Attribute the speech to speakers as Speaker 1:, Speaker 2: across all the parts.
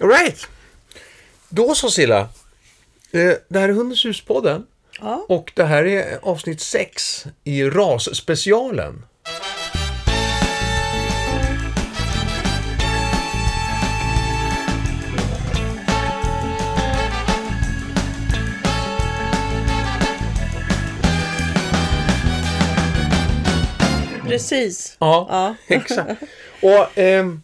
Speaker 1: Alright. Då så Silla. Eh, Det här är Hundens hus-podden.
Speaker 2: Ja.
Speaker 1: Och det här är avsnitt 6 i RAS-specialen.
Speaker 2: Precis.
Speaker 1: Ja, exakt. Och ehm,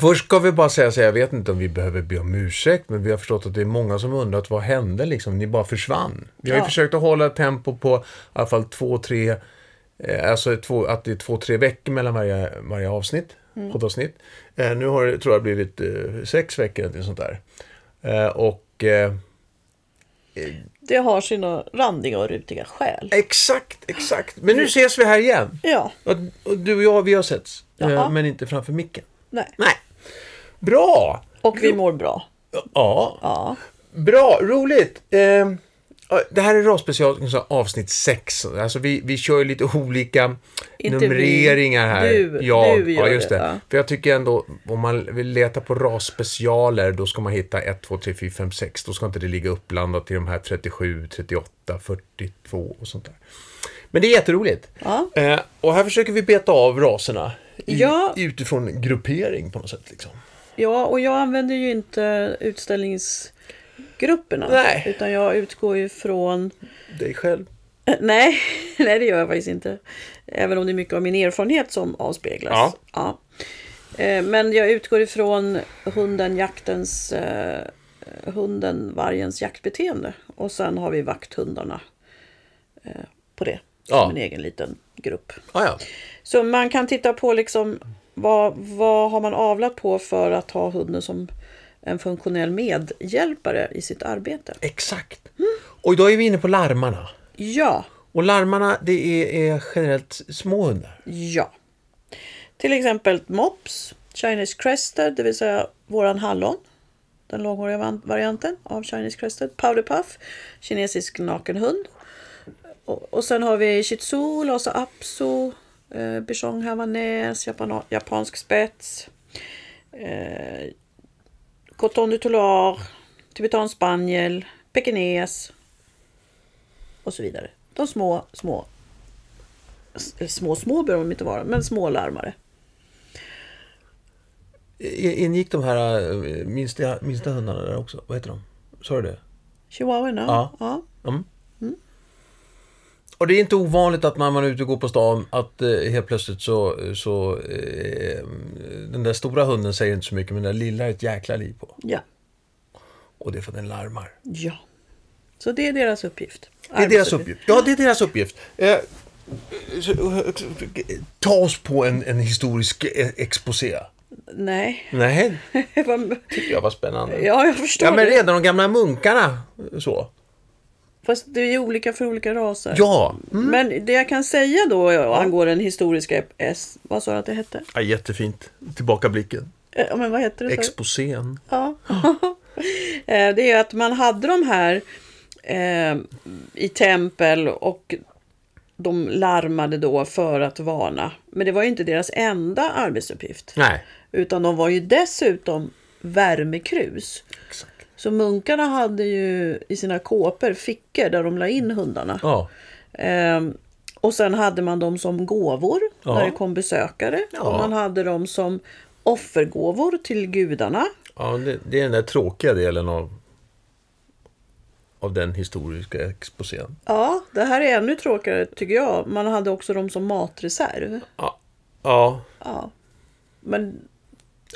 Speaker 1: först ska vi bara säga så här, jag vet inte om vi behöver be om ursäkt, men vi har förstått att det är många som undrat vad hände liksom, ni bara försvann. Vi har ju
Speaker 2: Ja.
Speaker 1: försökt att hålla ett tempo på i alla fall två, tre, eh, alltså två, att det är två, tre veckor mellan varje, varje avsnitt, poddavsnitt. Eh, nu har det, tror jag, blivit eh, sex veckor eller något sånt där. Eh, och eh,
Speaker 2: Det har sina randiga och rutiga skäl.
Speaker 1: exakt, exakt. Men nu ses vi här igen.
Speaker 2: Ja,
Speaker 1: Och, och du och jag, vi har setts, eh,
Speaker 2: Jaha.
Speaker 1: men inte framför micken.
Speaker 2: nej.
Speaker 1: Nej. Bra!
Speaker 2: Och vi mår bra.
Speaker 1: Ja,
Speaker 2: Ja,
Speaker 1: bra, roligt. Ehm, ja, det här är RAS-special, som sagt, avsnitt 6. Alltså vi, vi kör ju lite olika
Speaker 2: Inte vi.
Speaker 1: numreringar här.
Speaker 2: Du-
Speaker 1: ja,
Speaker 2: du gör
Speaker 1: ja, just det.
Speaker 2: det, ja.
Speaker 1: För jag tycker ändå, om man vill leta på RAS-specialer, då ska man hitta 1, 2, 3, 4, 5, 6. Då ska inte det ligga uppblandat i de här 37, 38, 42 och sånt där. Men det är jätteroligt.
Speaker 2: Ja.
Speaker 1: Eh, och här försöker vi beta av raserna. I,
Speaker 2: Ja.
Speaker 1: Utifrån gruppering på något sätt. Liksom.
Speaker 2: ja och jag använder ju inte utställningsgrupperna.
Speaker 1: Nej.
Speaker 2: Utan jag utgår ju från...
Speaker 1: Dig själv.
Speaker 2: Eh, Nej, nej det gör jag faktiskt inte. Även om det är mycket av min erfarenhet som avspeglas.
Speaker 1: Ja.
Speaker 2: Eh, Men jag utgår ifrån hunden, jaktens, eh, hunden, vargens jaktbeteende. Och sen har vi vakthundarna eh, på det. Som
Speaker 1: Ja.
Speaker 2: en egen liten grupp.
Speaker 1: Ah, ja.
Speaker 2: Så man kan titta på liksom vad, vad har man avlat på för att ha hunden som en funktionell medhjälpare i sitt arbete.
Speaker 1: Exakt. Och idag är vi inne på larmarna.
Speaker 2: Ja,
Speaker 1: Och larmarna, det är, är generellt små hundar.
Speaker 2: Ja. Till exempel mops, Chinese crested, det vill säga våran hallon. Den långhåriga van- varianten av Chinese crested. Powderpuff, kinesisk nakenhund. Och, och sen har vi shih tzu, lhasa apso, eh, bichong havanais, japana- japansk spets. Eh, coton du Toular, tibetan spaniel, pekines och så vidare. De små, små S- små, små behöver de inte vara, men små larmare.
Speaker 1: I- E-, Ingick de här eh, minsta, minsta hundarna där också? Vad heter de? Sa du det?
Speaker 2: Chihuahuorna?
Speaker 1: Ja. Mm. Och det är inte ovanligt att när man är ute och går på stan att eh, helt plötsligt så, så eh, den där stora hunden säger inte så mycket men den där lilla är ett jäkla liv på.
Speaker 2: ja.
Speaker 1: Och det är för att den larmar.
Speaker 2: Ja. Så det är deras uppgift.
Speaker 1: Det är deras uppgift. Ja, det är deras uppgift. Eh, så- eh, ta oss på en, en historisk eh, exposé.
Speaker 2: Nej.
Speaker 1: Nej,
Speaker 2: Vad-
Speaker 1: tyckte jag var spännande.
Speaker 2: ja, jag förstår
Speaker 1: Ja, men
Speaker 2: det.
Speaker 1: redan de gamla munkarna så.
Speaker 2: Fast det är ju olika för olika raser. Mm.
Speaker 1: Ja.
Speaker 2: Men det jag kan säga då angående den historiska S, vad sa du att det hette?
Speaker 1: ja jättefint. Tillbakablicken.
Speaker 2: Eh, Ja, men vad heter det? sa du?
Speaker 1: Exposén.
Speaker 2: Ja. Eh, det är ju att man hade de här eh, i tempel och de larmade då för att varna. Men det var ju inte deras enda arbetsuppgift.
Speaker 1: Nej.
Speaker 2: Utan de var ju dessutom värmekrus.
Speaker 1: Exakt.
Speaker 2: Så munkarna hade ju i sina kåpor fickor där de la in hundarna.
Speaker 1: Ja.
Speaker 2: Ehm, och sen hade man dem som gåvor
Speaker 1: Ja.
Speaker 2: när det kom besökare. Och
Speaker 1: Ja.
Speaker 2: man hade dem som offergåvor till gudarna.
Speaker 1: ja det, det är den där tråkiga delen av, av den historiska exposén.
Speaker 2: Ja, det här är ännu tråkigare tycker jag. Man hade också dem som matreserv.
Speaker 1: Ja. Ja.
Speaker 2: Ja. Men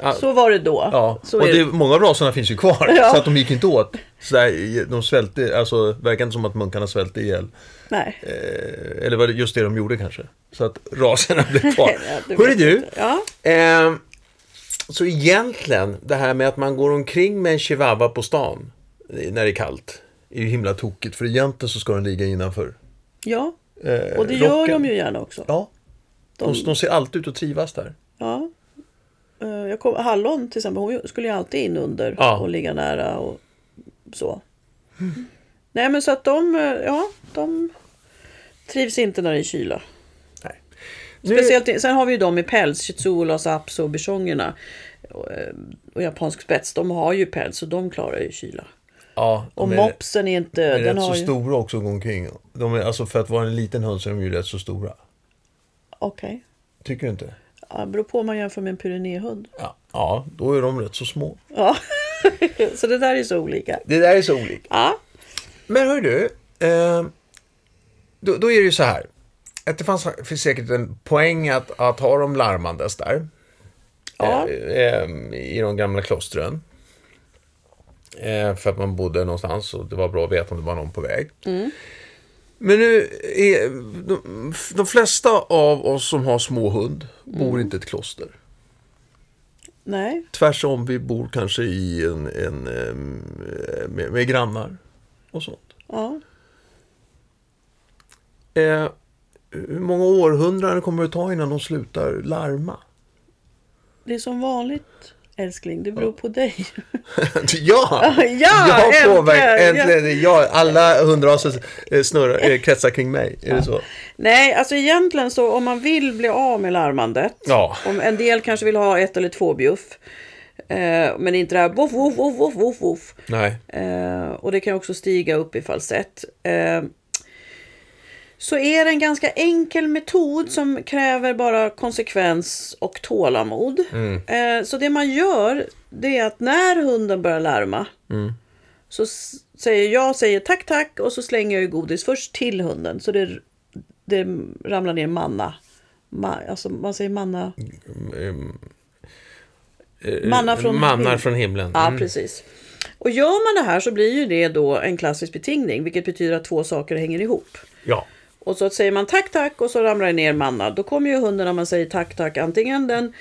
Speaker 1: Ja.
Speaker 2: så var det då.
Speaker 1: ja.
Speaker 2: Så
Speaker 1: och
Speaker 2: är
Speaker 1: det,
Speaker 2: det.
Speaker 1: många av raserna finns ju kvar.
Speaker 2: Ja.
Speaker 1: Så att de gick inte åt. Så där, de svälte, alltså verkar inte som att munkarna svälte ihjäl.
Speaker 2: Nej.
Speaker 1: Eh, eller var det just det de gjorde kanske? Så att raserna blev kvar.
Speaker 2: Ja, det
Speaker 1: Hörru
Speaker 2: vet
Speaker 1: du.
Speaker 2: jag inte. Ja.
Speaker 1: Ehm, så egentligen, det här med att man går omkring med en chihuahua på stan eh, när det är kallt, är ju himla tokigt. För egentligen så ska den ligga innanför.
Speaker 2: ja.
Speaker 1: eh,
Speaker 2: Och det gör
Speaker 1: rocken.
Speaker 2: de ju gärna också.
Speaker 1: Ja, de,
Speaker 2: De-
Speaker 1: de ser alltid ut att trivas där.
Speaker 2: Ja. Eh, Jag kom, hallon till exempel, hon skulle ju alltid in under
Speaker 1: Ja.
Speaker 2: och ligga nära och så. Nej men så att de, eh, ja, de trivs inte när det är kyla.
Speaker 1: Nej.
Speaker 2: Speciellt, sen har vi ju de i päls, shih tzu, lhasa apso och bichongerna. Och, eh, och japansk spets, de har ju päls så de klarar ju kyla.
Speaker 1: Ja, de
Speaker 2: Och
Speaker 1: är-
Speaker 2: mopsen är inte...
Speaker 1: De är
Speaker 2: den
Speaker 1: rätt så
Speaker 2: har ju...
Speaker 1: stora också att gå omkring. De är, alltså för att vara en liten hund så är de ju rätt så stora.
Speaker 2: Okej.
Speaker 1: Tycker du inte?
Speaker 2: Ja, beror på om man jämför med en pyrenéhund.
Speaker 1: Ja, ja, då är de rätt så små.
Speaker 2: Ja. så det där är så olika.
Speaker 1: Det där är så olika.
Speaker 2: Ja.
Speaker 1: Men hör du, eh, då, då är det ju så här. Att det fanns finns säkert en poäng att, att ha dem larmandes där.
Speaker 2: Ja.
Speaker 1: Eh, eh, I de gamla klostren. Eh, för att man bodde någonstans och det var bra att veta om det var någon på väg. Men nu är de, de flesta av oss som har små hund bor inte i ett kloster.
Speaker 2: Nej.
Speaker 1: Tvärsom, vi bor kanske i en, en eh, med, med grannar och sånt.
Speaker 2: Ja.
Speaker 1: Eh, hur många århundraden kommer det ta innan de slutar larma?
Speaker 2: Det är som vanligt älskling, det beror på dig.
Speaker 1: ja!
Speaker 2: Ja,
Speaker 1: jag
Speaker 2: äntligen!
Speaker 1: påverkar,
Speaker 2: Ja.
Speaker 1: äntligen! Ja, alla hundraser eh, snurrar, eh, kretsar kring mig. Är det så?
Speaker 2: Nej, alltså egentligen så om man vill bli av med larmandet.
Speaker 1: Ja.
Speaker 2: Om en del kanske vill ha ett eller två bjuff. Eh, men inte det här voff, voff, voff, voff, voff, voff.
Speaker 1: Nej.
Speaker 2: Eh, och det kan också stiga upp i falsett. Eh, så är det en ganska enkel metod som kräver bara konsekvens och tålamod. Eh, så det man gör, det är att när hunden börjar larma så s- säger jag säger tack tack och så slänger jag ju godis först till hunden så det, det ramlar ner manna. Ma, alltså man säger manna. Manna Eh, från
Speaker 1: Eh, Mannar
Speaker 2: himlen.
Speaker 1: från himlen.
Speaker 2: Ja,
Speaker 1: Mm.
Speaker 2: precis. Och gör man det här så blir ju det då en klassisk betingning, vilket betyder att två saker hänger ihop.
Speaker 1: Ja.
Speaker 2: Och så säger man tack, tack och så ramlar det ner manna. Då kommer ju hunden när man säger tack, tack antingen den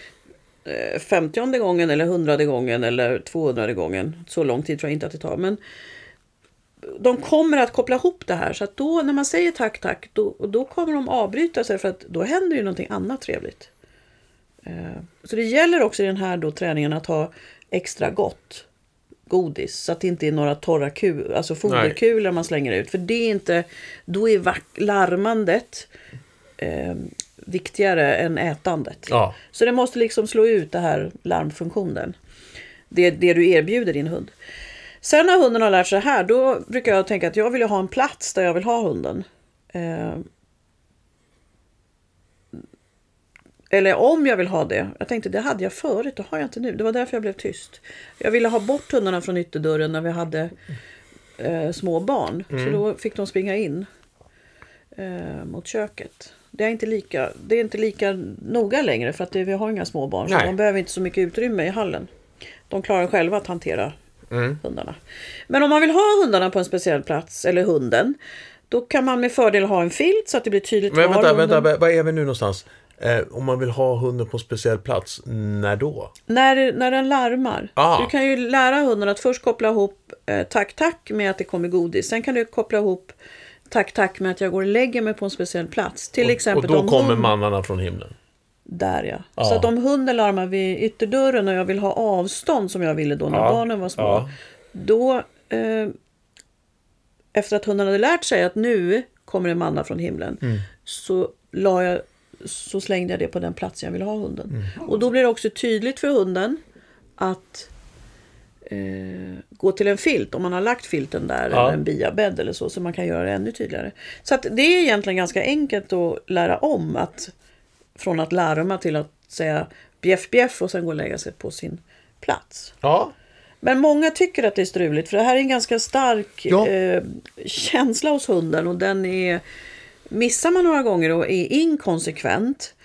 Speaker 2: eh, femtionde gången eller hundrade gången eller tvåhundrade gången. Så lång tid tror jag inte att det tar. Men de kommer att koppla ihop det här. Så att då när man säger tack, tack, då, då kommer de avbryta sig för att då händer ju någonting annat trevligt. Eh, Så det gäller också i den här då träningen att ha extra gott godis så att det inte är några torra kul, alltså foderkulor man slänger ut. För det är inte, då är vack- larmandet eh, viktigare än ätandet.
Speaker 1: Ja.
Speaker 2: Så det måste liksom slå ut det här larmfunktionen. Det, det du erbjuder din hund. Sen när hunden har lärt sig det här, då brukar jag tänka att jag vill ju ha en plats där jag vill ha hunden. Eh, eller om jag vill ha det. Jag tänkte det hade jag förut, det har jag inte nu. Det var därför jag blev tyst. Jag ville ha bort hundarna från ytterdörren när vi hade eh, små barn.
Speaker 1: Mm.
Speaker 2: Så då fick de springa in eh, mot köket. Det är, inte lika, det är inte lika noga längre för att det, vi har inga små barn. Så
Speaker 1: Nej.
Speaker 2: de behöver inte så mycket utrymme i hallen. De klarar själva att hantera
Speaker 1: Mm.
Speaker 2: hundarna. Men om man vill ha hundarna på en speciell plats, eller hunden, då kan man med fördel ha en filt så att det blir tydligt
Speaker 1: Men vänta,
Speaker 2: hunden-
Speaker 1: vänta, var är vi nu någonstans? Eh, om man vill ha hunden på en speciell plats, när då?
Speaker 2: När, när den larmar.
Speaker 1: Ah.
Speaker 2: Du kan ju lära hunden att först koppla ihop eh, tack tack med att det kommer godis. Sen kan du koppla ihop tack tack med att jag går och lägger mig på en speciell plats. Till exempel
Speaker 1: Och då
Speaker 2: om
Speaker 1: kommer Ah.
Speaker 2: hund-
Speaker 1: mannarna från himlen.
Speaker 2: Där ja.
Speaker 1: Ja.
Speaker 2: Så att om hunden larmar vid ytterdörren och jag vill ha avstånd som jag ville då när
Speaker 1: Ja.
Speaker 2: barnen var små.
Speaker 1: Ja.
Speaker 2: Då, eh, efter att hunden hade lärt sig att nu kommer en manna från himlen. Så, la jag, så slängde jag det på den platsen jag ville ha hunden. Och då blir det också tydligt för hunden att eh, gå till en filt om man har lagt filten där
Speaker 1: Ja.
Speaker 2: eller en biabädd eller så. Så man kan göra det ännu tydligare. Så att det är egentligen ganska enkelt att lära om att från att larma till att säga bjäff bjäff och sen gå och lägga sig på sin plats.
Speaker 1: Ja.
Speaker 2: Men många tycker att det är struligt för det här är en ganska stark
Speaker 1: Ja.
Speaker 2: eh, känsla hos hunden och den är missar man några gånger och är inkonsekvent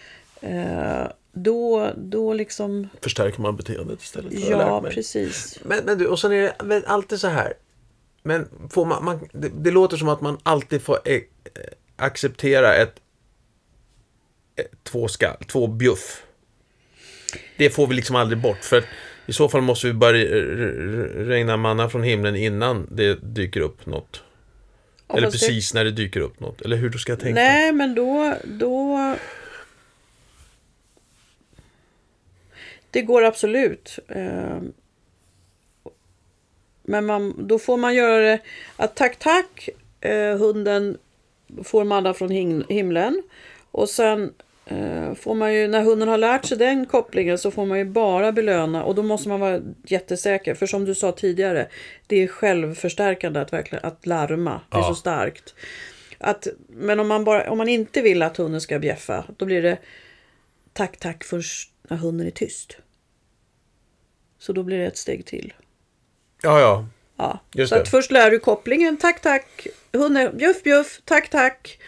Speaker 2: eh, då, då liksom
Speaker 1: Förstärker man beteendet istället? har jag lärt
Speaker 2: ja
Speaker 1: mig.
Speaker 2: precis.
Speaker 1: Men, men du, och sen är det väl alltid så här. Men får man, man, det, det låter som att man alltid får eh, acceptera ett, ett två skall, två bjuff. Det får vi liksom aldrig bort för att i så fall måste vi bara re- re- regna manna från himlen innan det dyker upp något.
Speaker 2: Ja,
Speaker 1: Eller
Speaker 2: fast det-
Speaker 1: precis när det dyker upp något. Eller hur du ska jag tänka.
Speaker 2: Nej, men då, då... Det går absolut. Eh, Men man, då får man göra det att tack, tack, eh, hunden får manna från him- himlen. Och sen eh, får man ju, när hunden har lärt sig den kopplingen så får man ju bara belöna och då måste man vara jättesäker. För som du sa tidigare, det är självförstärkande att, verkligen, att larma. Det är
Speaker 1: Ja.
Speaker 2: så starkt. Att, men om man, bara, om man inte vill att hunden ska bjäffa, då blir det tack, tack först när hunden är tyst. Så då blir det ett steg till.
Speaker 1: Ja, ja.
Speaker 2: Ja.
Speaker 1: Just
Speaker 2: så
Speaker 1: det.
Speaker 2: att först lär du kopplingen, tack tack, hunden, bjuff bjuff, tack tack.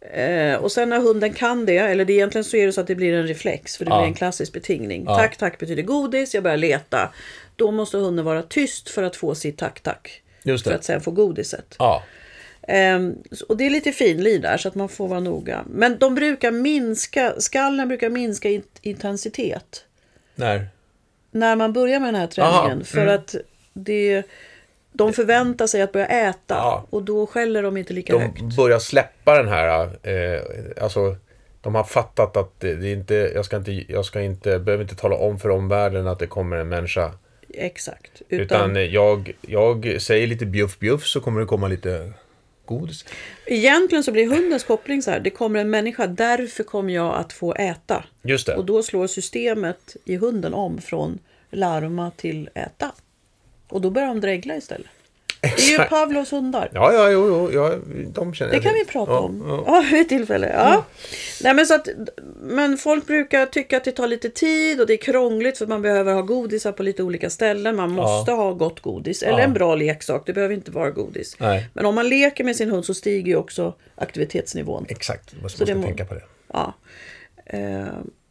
Speaker 2: Eh, och sen när hunden kan det, eller det egentligen så är det så att det blir en reflex, för det
Speaker 1: Ja.
Speaker 2: blir en klassisk betingning.
Speaker 1: Ja.
Speaker 2: Tack tack betyder godis, jag börjar leta. Då måste hunden vara tyst för att få sitt tack tack.
Speaker 1: Just det.
Speaker 2: För att sen få godiset.
Speaker 1: Ja,
Speaker 2: Ehm, så- och det är lite finlir där så att man får vara noga. Men de brukar minska, skallen brukar minska i intensitet
Speaker 1: när?
Speaker 2: när man börjar med den här
Speaker 1: Aha,
Speaker 2: träningen.
Speaker 1: mm.
Speaker 2: För att det, de förväntar sig att börja äta
Speaker 1: Ja.
Speaker 2: och då skäller de inte lika högt.
Speaker 1: De börjar släppa den här, eh, alltså de har fattat att det det är inte, jag ska inte, jag ska inte, behöver inte tala om för omvärlden att det kommer en människa.
Speaker 2: Exakt.
Speaker 1: Utan, eh,
Speaker 2: Utan,
Speaker 1: jag, jag säger lite bjuff bjuff så kommer det komma lite godis.
Speaker 2: egentligen så blir hundens koppling så här, det kommer en människa, därför kommer jag att få äta.
Speaker 1: Just det.
Speaker 2: Och då slår systemet i hunden om från larma till äta. Och då börjar de dregla istället. Det är ju
Speaker 1: Exakt.
Speaker 2: Pavlovs hundar.
Speaker 1: Ja, ja, jo, jo, ja, de känner
Speaker 2: Det
Speaker 1: jag
Speaker 2: kan
Speaker 1: till.
Speaker 2: vi prata
Speaker 1: ja,
Speaker 2: om
Speaker 1: Ja. Mm.
Speaker 2: ja, vid ett tillfälle. Ja. Nej, men, så att, men folk brukar tycka att det tar lite tid och det är krångligt för man behöver ha godisar på lite olika ställen. Man måste ha gott godis eller
Speaker 1: Ja.
Speaker 2: en bra leksak. Det behöver inte vara godis.
Speaker 1: Nej.
Speaker 2: Men om man leker med sin hund så stiger ju också aktivitetsnivån.
Speaker 1: Exakt, man måste
Speaker 2: det må-
Speaker 1: tänka på det.
Speaker 2: Ja. Eh,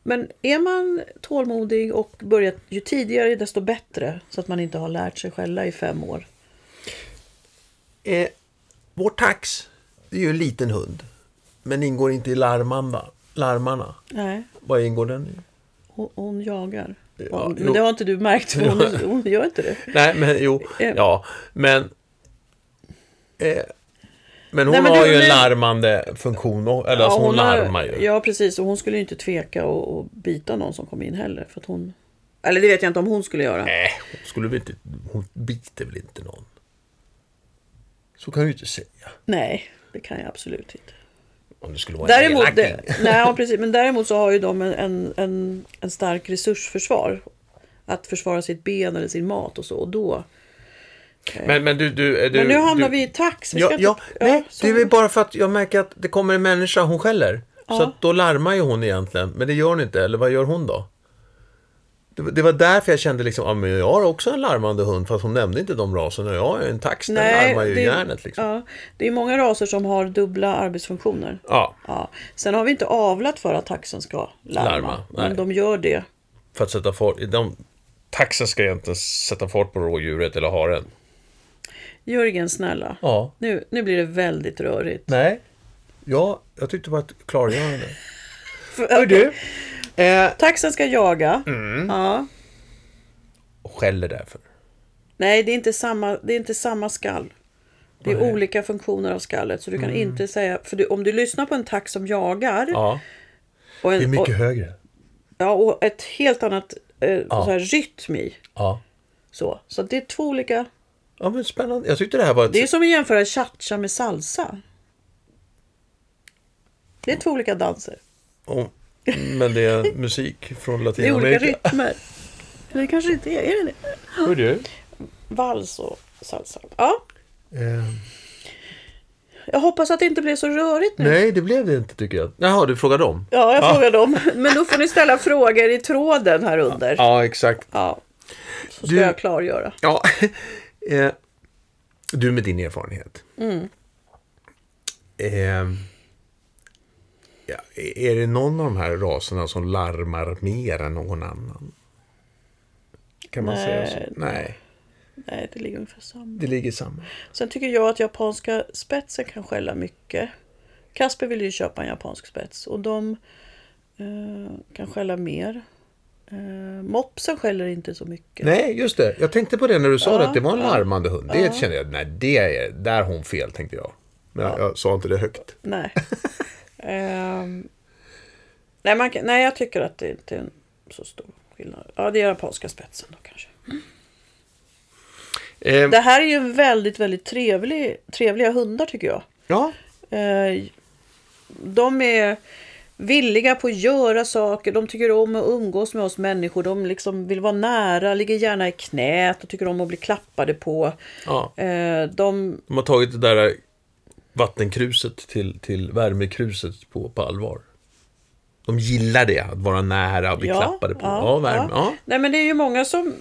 Speaker 2: Men är man tålmodig och börjar ju tidigare desto bättre så att man inte har lärt sig skälla i fem år.
Speaker 1: Eh, vår tax, det är ju en liten hund. Men ingår inte i larmanda, larmarna.
Speaker 2: Nej,
Speaker 1: Vad ingår den i?
Speaker 2: hon, hon jagar.
Speaker 1: Ja,
Speaker 2: men
Speaker 1: jo. Alltså,
Speaker 2: det har inte du märkt för hon, hon gör inte det.
Speaker 1: Nej, men jo,
Speaker 2: Eh.
Speaker 1: ja, men... Eh, men hon
Speaker 2: Nej, men
Speaker 1: har
Speaker 2: det-
Speaker 1: ju en
Speaker 2: det-
Speaker 1: larmande funktion, och- eller alltså hon,
Speaker 2: har-
Speaker 1: larmar ju.
Speaker 2: Ja, precis. Och hon skulle ju inte tveka och, och bita någon som kom in heller. För att hon... Eller det vet jag inte om hon skulle göra.
Speaker 1: Nej, hon skulle väl inte... Hon biter väl inte någon? Så kan du ju inte säga.
Speaker 2: Nej, det kan jag absolut inte.
Speaker 1: Om det skulle vara
Speaker 2: Däremot, eh,
Speaker 1: en
Speaker 2: det,
Speaker 1: elaking.
Speaker 2: nej, ja, precis, men däremot så har ju de en, en, en, en stark resursförsvar. Att försvara sitt ben eller sin mat och så. Och då...
Speaker 1: Men, men du, du, du...
Speaker 2: Men nu hamnar
Speaker 1: du,
Speaker 2: vi i tax. Vi
Speaker 1: Ja,
Speaker 2: ska
Speaker 1: ja,
Speaker 2: inte-
Speaker 1: nej,
Speaker 2: så-
Speaker 1: det är väl bara för att jag märker att det kommer en människa, hon skäller. Så att då larmar ju hon egentligen, men det gör hon inte. Eller vad gör hon då? Det, var- det var därför jag kände liksom, ja, men jag har också en larmande hund, fast hon nämnde inte de raserna. Jag har ju en tax, den larmar ju
Speaker 2: det-
Speaker 1: järnet liksom.
Speaker 2: Ja, det är många raser som har dubbla arbetsfunktioner.
Speaker 1: Ja,
Speaker 2: Ja. Sen har vi inte avlat för att taxen ska larma.
Speaker 1: Larma, nej.
Speaker 2: men de gör det
Speaker 1: för att sätta fart. De, taxen ska egentligen sätta fart på rådjuret eller haren.
Speaker 2: Jörgen, snälla.
Speaker 1: Ja.
Speaker 2: Nu, nu blir det väldigt rörigt.
Speaker 1: Nej. Ja, jag tyckte det var ett klargörande. Hör du? Mm. Eh,
Speaker 2: äh, Taxen ska jaga. Ja.
Speaker 1: och skäller därför.
Speaker 2: Nej, det är, inte samma, det är inte samma skall. Det är olika funktioner av skallet. Så du kan inte säga... För du, om du lyssnar på en tax som jagar
Speaker 1: Mm. Ja,
Speaker 2: och,
Speaker 1: det är
Speaker 2: en, och,
Speaker 1: mycket högre.
Speaker 2: ja, och ett helt annat eh, så här, rytm i.
Speaker 1: Ja.
Speaker 2: Så. så det är två olika...
Speaker 1: Ja, men spännande. Jag tyckte det här var ett...
Speaker 2: Det är som att jämföra cha-cha med salsa. Det är två olika danser.
Speaker 1: Oh, men det är musik från
Speaker 2: Det är olika
Speaker 1: Latinamerika.
Speaker 2: rytmer. Eller det kanske inte är. Är det det?
Speaker 1: Hör du?
Speaker 2: Vals och salsa. Ja,
Speaker 1: Eh,
Speaker 2: Jag hoppas att det inte blev så rörigt nu.
Speaker 1: nej, det blev det inte tycker jag. Jaha, du frågade dem?
Speaker 2: Ja, jag frågar dem. Men då får ni ställa frågor i tråden här under.
Speaker 1: Ja, exakt.
Speaker 2: Ja. Så ska
Speaker 1: Du-
Speaker 2: jag klargöra.
Speaker 1: Ja. eh, du med din erfarenhet. Eh, ja, är det någon av de här raserna som larmar mer än någon annan? Kan man säga
Speaker 2: Nej.
Speaker 1: så? Nej,
Speaker 2: Nej, det ligger ungefär samma.
Speaker 1: det ligger samma.
Speaker 2: Sen tycker jag att japanska spetsen kan skälla mycket. Kasper ville ju köpa en japansk spets och de eh, kan skälla mer. Eh, mopsen skäller inte så mycket.
Speaker 1: Nej, just det. Jag tänkte på det när du sa
Speaker 2: Ja,
Speaker 1: det, att det var en
Speaker 2: ja.
Speaker 1: larmande hund. Det kände jag, nej, det är, där har hon fel, tänkte jag. Men jag, jag sa inte det högt.
Speaker 2: Nej. Ehm, nej, man, kan- nej, jag tycker att det inte är en så stor skillnad. Ja, det är japanska spetsen då kanske.
Speaker 1: Eh,
Speaker 2: Det här är ju väldigt, väldigt trevlig, trevliga hundar tycker jag.
Speaker 1: ja,
Speaker 2: Eh, Ehm, De är villiga på att göra saker, de tycker om att umgås med oss människor, de liksom vill vara nära, ligger gärna i knät och tycker om att bli klappade på.
Speaker 1: Ja.
Speaker 2: Eh, de,
Speaker 1: De har tagit det där vattenkruset till, till värmekruset på, på allvar. De gillar det, att vara nära och bli
Speaker 2: Ja,
Speaker 1: klappade på.
Speaker 2: ja,
Speaker 1: Ja, värme. Ja.
Speaker 2: ja. Nej men det är ju många som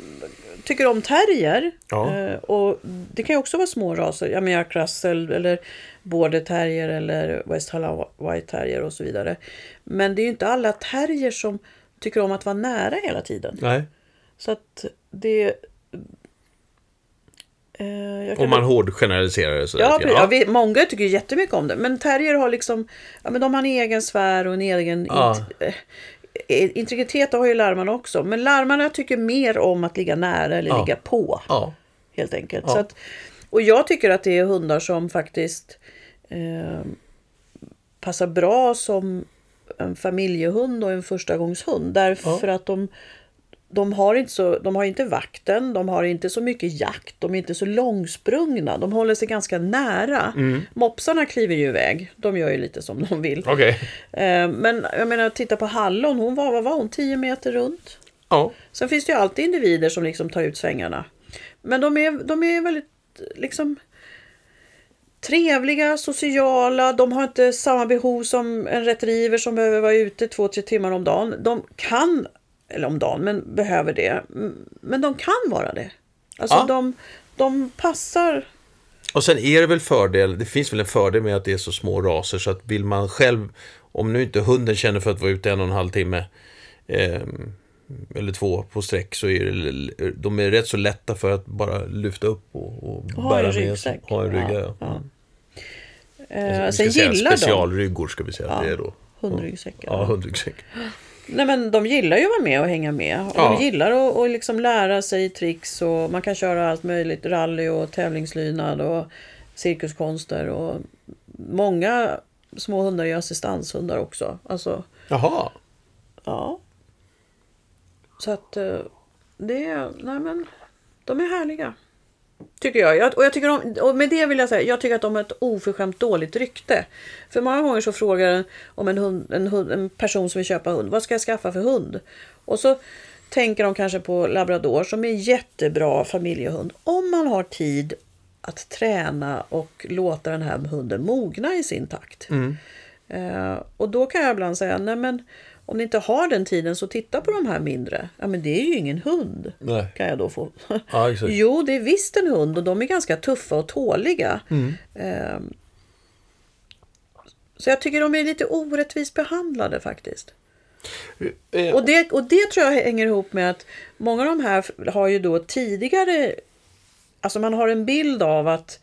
Speaker 2: tycker om terrier.
Speaker 1: Ja.
Speaker 2: Eh, Och det kan ju också vara små raser. Jag menar Russell eller Border Terrier eller West Hawaii Terrier och så vidare. Men det är ju inte alla terrier som tycker om att vara nära hela tiden.
Speaker 1: Nej.
Speaker 2: Så att det... Eh, jag kan
Speaker 1: Om man hårdgeneraliserar det så
Speaker 2: Ja, precis. ja. vi, många tycker ju jättemycket om det. Men terrier har liksom, ja, men de har en egen sfär och en egen
Speaker 1: Ja.
Speaker 2: int- eh, eh, integritet. Det har ju larmarna också. Men larmarna tycker mer om att ligga nära eller
Speaker 1: Ja.
Speaker 2: ligga på.
Speaker 1: ja.
Speaker 2: Helt enkelt.
Speaker 1: Ja.
Speaker 2: Så att, och jag tycker att det är hundar som faktiskt eh, passar bra som en familjehund och en förstagångshund. Därför att de, de, har inte så, de har inte vakten, de har inte så mycket jakt, de är inte så långsprungna. De håller sig ganska nära. Mopsarna kliver ju iväg, de gör ju lite som de vill.
Speaker 1: Okej.
Speaker 2: Eh, men jag menar, titta på Hallon, hon var, vad var hon, 10 meter runt?
Speaker 1: Ja.
Speaker 2: Sen finns det ju alltid individer som liksom tar ut svängarna. Men de är, de är väldigt liksom trevliga, sociala, de har inte samma behov som en retriever som behöver vara ute två, tre timmar om dagen. De kan, eller om dagen, men behöver det. Mm, Men de kan vara det. Alltså
Speaker 1: Ja.
Speaker 2: de, de passar.
Speaker 1: Och sen är det väl fördel, det finns väl en fördel med att det är så små raser så att vill man själv, om nu inte hunden känner för att vara ute en och en halv timme ehm, eller två på sträck så är det, de är rätt så lätta för att bara lyfta upp och, och
Speaker 2: ha
Speaker 1: bära
Speaker 2: en
Speaker 1: med sig.
Speaker 2: ryggsäck.
Speaker 1: Ha en rygga, ja.
Speaker 2: Ja,
Speaker 1: Mm.
Speaker 2: Eh,
Speaker 1: Vi
Speaker 2: sen
Speaker 1: ska säga
Speaker 2: gillar de
Speaker 1: Specialryggor ska vi säga att det är då.
Speaker 2: hundryggsäckar.
Speaker 1: Ja, hundryggsäck.
Speaker 2: Nej men de gillar ju att vara med och hänga med. Och
Speaker 1: Ja.
Speaker 2: De gillar att och liksom lära sig tricks och man kan köra allt möjligt. Rally och tävlingslydnad och cirkuskonster och många små hundar är assistanshundar också. Alltså,
Speaker 1: Jaha.
Speaker 2: ja. Så att eh, det är, nej men, de är härliga. Tycker jag. jag och, jag tycker om, och med det vill jag säga, jag tycker att de har ett oförskämt dåligt rykte. För många gånger så frågar en, om en, hund, en, hund, en person som vill köpa hund, vad ska jag skaffa för hund? Och så tänker de kanske på labrador som är en jättebra familjehund. Om man har tid att träna och låta den här hunden mogna i sin takt. Eh, och då kan jag ibland säga, nej men om ni inte har den tiden så titta på de här mindre. Ja men det är ju ingen hund.
Speaker 1: Nej.
Speaker 2: Kan jag då få.
Speaker 1: Ja, exakt.
Speaker 2: Jo, det är visst en hund och de är ganska tuffa och tåliga.
Speaker 1: Mm.
Speaker 2: Ehm, Så jag tycker de är lite orättvist behandlade faktiskt.
Speaker 1: Eh,
Speaker 2: Och det, och det tror jag hänger ihop med att många av de här f- har ju då tidigare, alltså man har en bild av att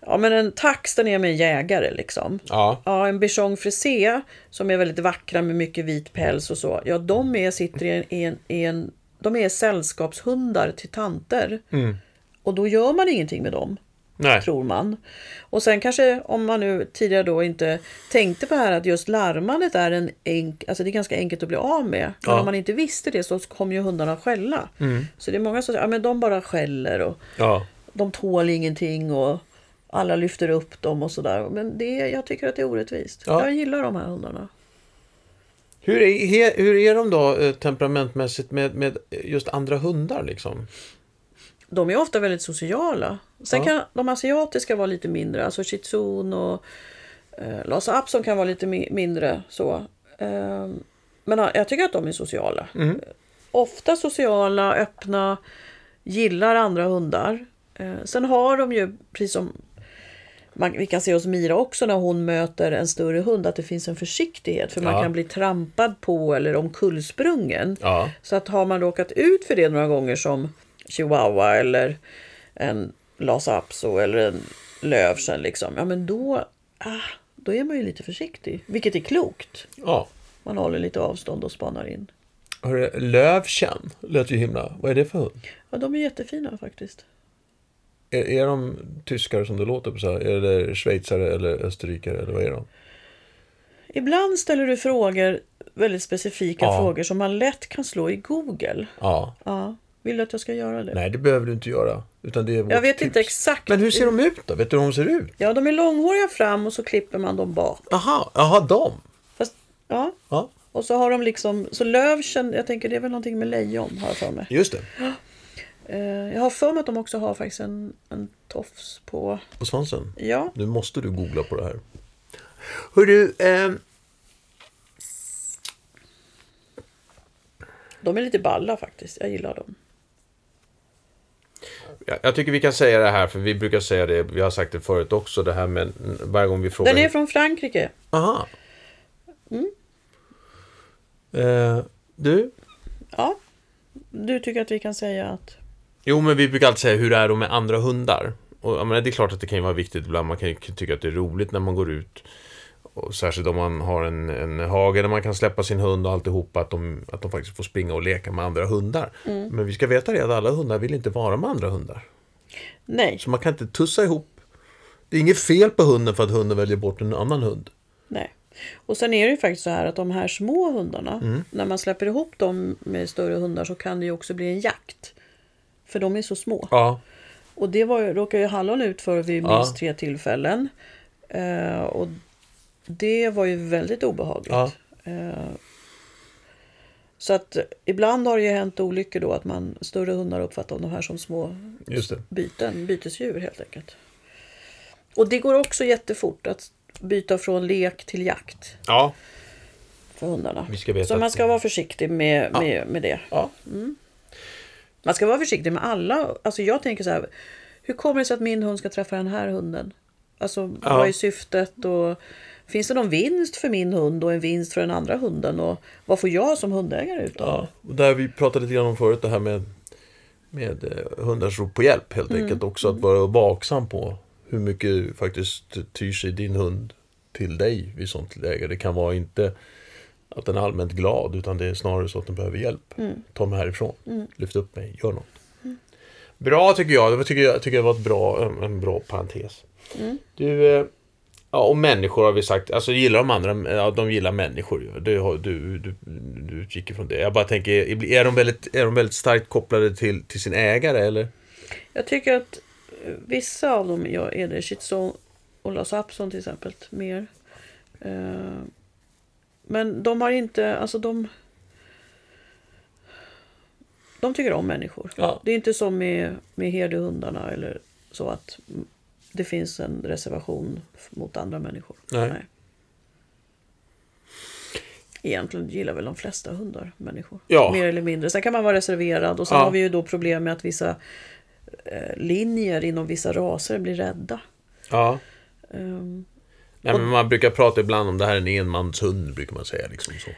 Speaker 2: ja men en tax den är med en jägare liksom.
Speaker 1: Ja.
Speaker 2: Ja, en bichon frisé som är väldigt vackra med mycket vit päls och så. Ja, de är, sitter i en, i en, i en, de är sällskapshundar till tanter. Och då gör man ingenting med dem,
Speaker 1: Mm. Nej.
Speaker 2: tror man. Och sen kanske om man nu tidigare då inte tänkte på här att just larmandet är en enk, alltså det är ganska enkelt att bli av med. Men
Speaker 1: Ja. Mm.
Speaker 2: om man inte visste det så kommer ju hundarna att skälla. Så det är många som säger, ja men de bara skäller och
Speaker 1: Ja.
Speaker 2: de tål ingenting och alla lyfter upp dem och sådär. Men det, jag tycker att det är orättvist.
Speaker 1: Ja.
Speaker 2: Jag gillar de här hundarna.
Speaker 1: Hur är, he- hur är de då eh, temperamentmässigt med, med just andra hundar liksom?
Speaker 2: De är ofta väldigt sociala. Sen
Speaker 1: Ja.
Speaker 2: kan de asiatiska vara lite mindre, alltså shih tzu och eh, Lhasa apson kan vara lite mi- mindre. så. Eh, men ja, jag tycker att de är sociala.
Speaker 1: Mm.
Speaker 2: Ofta sociala, öppna, gillar andra hundar. Eh, sen har de ju, precis som man, vi kan se hos Mira också när hon möter en större hund, att det finns en försiktighet. För
Speaker 1: Ja.
Speaker 2: man kan bli trampad på eller omkullsprungen.
Speaker 1: Ja.
Speaker 2: Så att har man råkat ut för det några gånger som chihuahua eller en Lhasa apso eller en lövsen liksom, ja men då, ah, då är man ju lite försiktig. Vilket är klokt.
Speaker 1: Ja.
Speaker 2: Man håller lite avstånd och spanar in.
Speaker 1: Hörru, Lövchen lät ju himla... Vad är det för hund?
Speaker 2: Ja, de är jättefina faktiskt.
Speaker 1: Är, är de tyskar som det låter på så här? Eller schweizare eller österrikare eller vad är de?
Speaker 2: Ibland ställer du frågor, väldigt specifika
Speaker 1: Ja.
Speaker 2: frågor som man lätt kan slå i Google.
Speaker 1: Ja.
Speaker 2: Ja, vill du att jag ska göra det?
Speaker 1: Nej, det behöver du inte göra. Utan det är vårt
Speaker 2: jag vet
Speaker 1: tips.
Speaker 2: inte exakt.
Speaker 1: Men hur ser de ut då? Vet du hur de ser ut?
Speaker 2: Ja, de är långhåriga fram och så klipper man dem bak.
Speaker 1: Aha, aha, de.
Speaker 2: Fast Ja.
Speaker 1: Ja,
Speaker 2: Och så har de liksom, så lövchen, jag tänker det är väl någonting med lejon har jag för mig.
Speaker 1: just det.
Speaker 2: Eh, jag har för mig att de också har faktiskt en, en tofs på,
Speaker 1: På svansen.
Speaker 2: ja,
Speaker 1: Nu måste du googla på det här. Hörru, ehm,
Speaker 2: de är lite balla faktiskt. Jag gillar dem.
Speaker 3: Jag, jag tycker vi kan säga det här, för vi brukar säga det, vi har sagt det förut också, det här med varje gång vi frågar...
Speaker 2: Den är Mm. från Frankrike.
Speaker 1: aha. Eh, du?
Speaker 2: Ja, du tycker att vi kan säga att,
Speaker 3: Jo, men vi brukar alltid säga hur är de med andra hundar? Och jag menar, det är klart att det kan ju vara viktigt ibland, man kan ju tycka att det är roligt när man går ut. Och särskilt om man har en, en hage där man kan släppa sin hund och alltihopa, att de, att de faktiskt får springa och leka med andra hundar. Men vi ska veta det att alla hundar vill inte vara med andra hundar.
Speaker 2: nej,
Speaker 3: Så man kan inte tussa ihop. Det är inget fel på hunden för att hunden väljer bort en annan hund.
Speaker 2: nej. Och sen är det ju faktiskt så här att de här små hundarna, när man släpper ihop dem med större hundar så kan det ju också bli en jakt. För de är så små.
Speaker 3: Ja,
Speaker 2: Och det var, ju- råkade ju Hallon ut för vid
Speaker 3: Ja.
Speaker 2: minst tre tillfällen. Eh, och det var ju väldigt obehagligt.
Speaker 3: Ja.
Speaker 2: Eh, så att ibland har det ju hänt olyckor då att man större hundar uppfattar de här som små
Speaker 1: Just det.
Speaker 2: byten, bytesdjur helt enkelt. Och det går också jättefort att byta från lek till jakt
Speaker 3: ja
Speaker 2: för hundarna.
Speaker 3: Vi ska veta
Speaker 2: så
Speaker 3: att-
Speaker 2: man ska vara försiktig med, med, med det.
Speaker 1: Ja.
Speaker 2: Man ska vara försiktig med alla. Alltså jag tänker så här, hur kommer det sig att min hund ska träffa den här hunden? Alltså vad är syftet och finns det någon vinst för min hund och en vinst för den andra hunden? Och vad får jag som hundägare ut av
Speaker 1: Ja,
Speaker 2: det?
Speaker 1: och där vi pratade lite grann om förut det här med, med eh, hundars rop på hjälp helt enkelt. Också att vara vaksam på hur mycket faktiskt tyr sig din hund till dig vid sånt läge. Det kan vara inte att den är allmänt glad utan det är snarare så att den behöver hjälp. Ta mig härifrån, lyft upp mig, gör något. Bra tycker jag, det var- tycker jag, tycker jag var ett bra, en, en bra parentes.
Speaker 3: Du, eh, ja, och människor har vi sagt, alltså gillar de andra, ja, de gillar människor ju. Du, har- du, du, du utgick ifrån det. Jag bara tänker, är de väldigt, är de väldigt starkt kopplade till, till sin ägare eller?
Speaker 2: Jag tycker att eh, vissa av dem jag är det. Shitson och Lhasa Apson till exempel. Mer. Eh, Men de har inte, alltså de... De tycker om människor.
Speaker 1: Ja.
Speaker 2: Det är inte som med, med herdehundarna eller så att mm, det finns en reservation f- mot andra människor.
Speaker 1: Nej.
Speaker 2: Egentligen gillar väl de flesta hundar människor.
Speaker 3: Ja.
Speaker 2: Mer eller mindre. Sen kan man vara reserverad och sen
Speaker 3: Ja.
Speaker 2: har vi ju då problem med att vissa eh, linjer inom vissa raser blir rädda.
Speaker 3: Ja.
Speaker 2: Ehm,
Speaker 3: Nej, men man brukar prata ibland om det här är en enmanshund, brukar man säga. Liksom, så.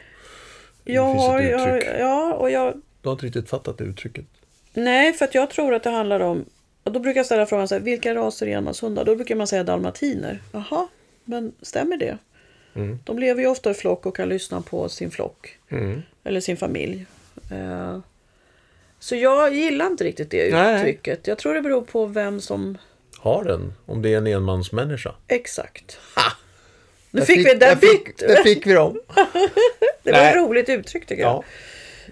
Speaker 2: jag
Speaker 1: finns ett
Speaker 2: har, jag,
Speaker 1: uttryck.
Speaker 2: ja, och jag,
Speaker 1: Du har inte riktigt fattat det uttrycket.
Speaker 2: nej, för att jag tror att det handlar om... Och då brukar jag ställa frågan så här, vilka raser är enmanshundar? Då brukar man säga dalmatiner. Jaha, men stämmer det? De lever ju ofta i flock och kan lyssna på sin flock. Eller sin familj. Eh, så jag gillar inte riktigt det
Speaker 1: Nej.
Speaker 2: uttrycket. Jag tror det beror på vem som...
Speaker 1: Har den, om det är en enmansmänniska.
Speaker 2: Exakt. Nu fick, vi... Där fick,
Speaker 1: där fick vi dem.
Speaker 2: Det var ett
Speaker 1: Nej.
Speaker 2: roligt uttryck tycker jag.
Speaker 1: Ja.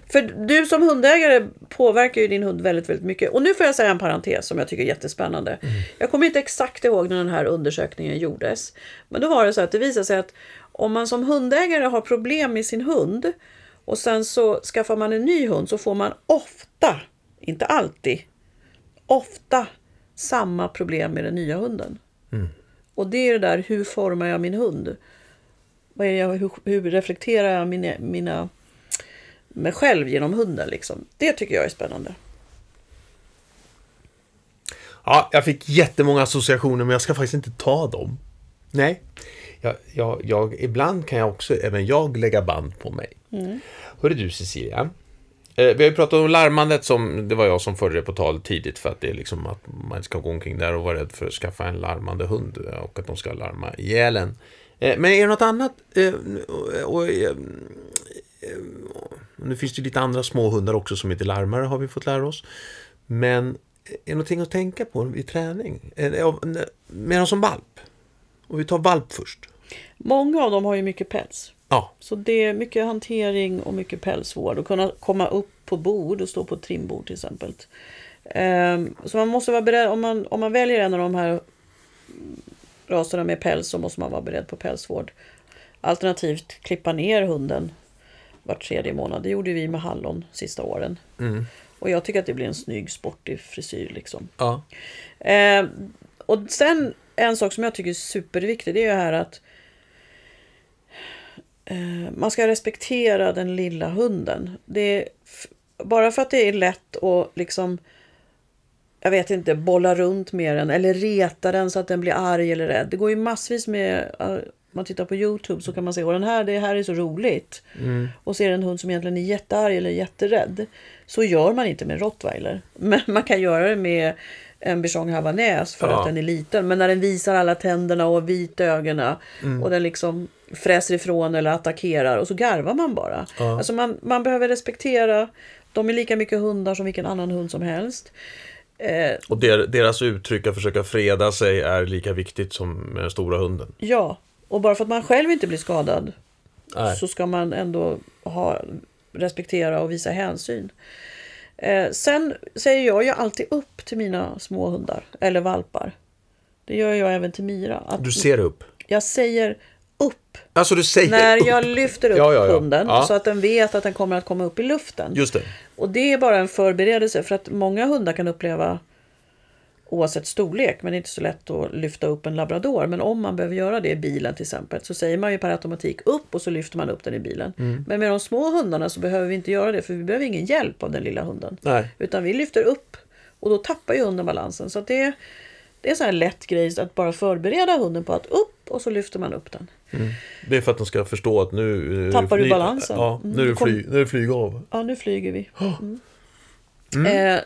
Speaker 2: För du som hundägare påverkar ju din hund väldigt, väldigt mycket. Och nu får jag säga en parentes som jag tycker är jättespännande. Jag kommer inte exakt ihåg när den här undersökningen gjordes. Men då var det så att det visade sig att om man som hundägare har problem med sin hund och sen så skaffar man en ny hund så får man ofta, inte alltid, ofta samma problem med den nya hunden. Och det är det där, hur formar jag min hund? Vad är jag, hur, hur reflekterar jag mina, mina, mig själv genom hunden? Liksom? Det tycker jag är spännande.
Speaker 1: Ja, jag fick jättemånga associationer men jag ska faktiskt inte ta dem. Nej. Jag, jag, jag, ibland kan jag också, även jag, lägga band på mig.
Speaker 3: Hörru du Cecilia, eh, vi har ju pratat om larmandet som, det var jag som förde det på tal tidigt för att det är liksom att man ska gå omkring där och vara rädd för att skaffa en larmande hund eh, och att de ska larma ihjäl en. Eh, Men är det något annat? eh, och, och, eh, Nu finns det ju lite andra små hundar också som inte larmar har vi fått lära oss. Men är det någonting att tänka på i träning? Eh, eh, Med dem som valp? Och vi tar valp först.
Speaker 2: Många av dem har ju mycket päls.
Speaker 3: Ja,
Speaker 2: Så det är mycket hantering och mycket pälsvård. Och kunna komma upp på bord och stå på ett trimbord till exempel. Ehm, Så man måste vara beredd, om man, om man väljer en av de här raserna med päls så måste man vara beredd på pälsvård. Alternativt klippa ner hunden var tredje månad. Det gjorde vi med hallon sista åren.
Speaker 1: Mm.
Speaker 2: Och jag tycker att det blir en snygg sportig frisyr liksom.
Speaker 1: Ja.
Speaker 2: Eh, och sen en sak som jag tycker är superviktig det är ju här att eh, man ska respektera den lilla hunden. Det är f- bara för att det är lätt att liksom jag vet inte, bolla runt med den eller reta den så att den blir arg eller rädd. Det går ju massvis med, eh, om man tittar på Youtube så kan man se, åh den här, det här är så roligt.
Speaker 1: Mm.
Speaker 2: Och ser en hund som egentligen är jättearg eller jätterädd. Så gör man inte med rottweiler. Men man kan göra det med en bichong havanäs för
Speaker 1: Ja.
Speaker 2: att den är liten. Men när den visar alla tänderna och vita ögonen
Speaker 1: Mm.
Speaker 2: och den liksom fräser ifrån eller attackerar och så garvar man bara.
Speaker 1: Ja.
Speaker 2: Alltså man, man behöver respektera, de är lika mycket hundar som vilken annan hund som helst. Eh,
Speaker 1: Och der, deras uttryck att försöka freda sig är lika viktigt som med den stora hunden.
Speaker 2: Ja, och bara för att man själv inte blir skadad
Speaker 1: Nej.
Speaker 2: så ska man ändå ha, respektera och visa hänsyn. Eh, sen säger jag ju alltid upp till mina små hundar eller valpar. Det gör jag även till Mira. Att
Speaker 1: Du ser upp.
Speaker 2: Jag säger upp
Speaker 1: Alltså du säger
Speaker 2: när
Speaker 1: upp.
Speaker 2: jag lyfter upp
Speaker 1: Ja, ja, ja.
Speaker 2: hunden
Speaker 1: Ja.
Speaker 2: så att den vet att den kommer att komma upp i luften.
Speaker 1: Just det.
Speaker 2: Och det är bara en förberedelse för att många hundar kan uppleva oavsett storlek, men det är inte så lätt att lyfta upp en labrador. Men om man behöver göra det i bilen till exempel så säger man ju per automatik upp och så lyfter man upp den i bilen. Men med de små hundarna så behöver vi inte göra det för vi behöver ingen hjälp av den lilla hunden.
Speaker 1: Nej.
Speaker 2: Utan vi lyfter upp och då tappar ju hunden balansen. Så att det, det är en sån här lätt grej att bara förbereda hunden på att upp och så lyfter man upp den.
Speaker 1: Det är för att de ska förstå att nu... eh,
Speaker 2: Tappar du
Speaker 1: fly-
Speaker 2: balansen?
Speaker 1: Ja,
Speaker 2: Mm,
Speaker 1: nu är
Speaker 2: du
Speaker 1: det
Speaker 2: kom-
Speaker 1: fly, nu är det flyg av.
Speaker 2: Ja, nu flyger vi. Mm. Eh,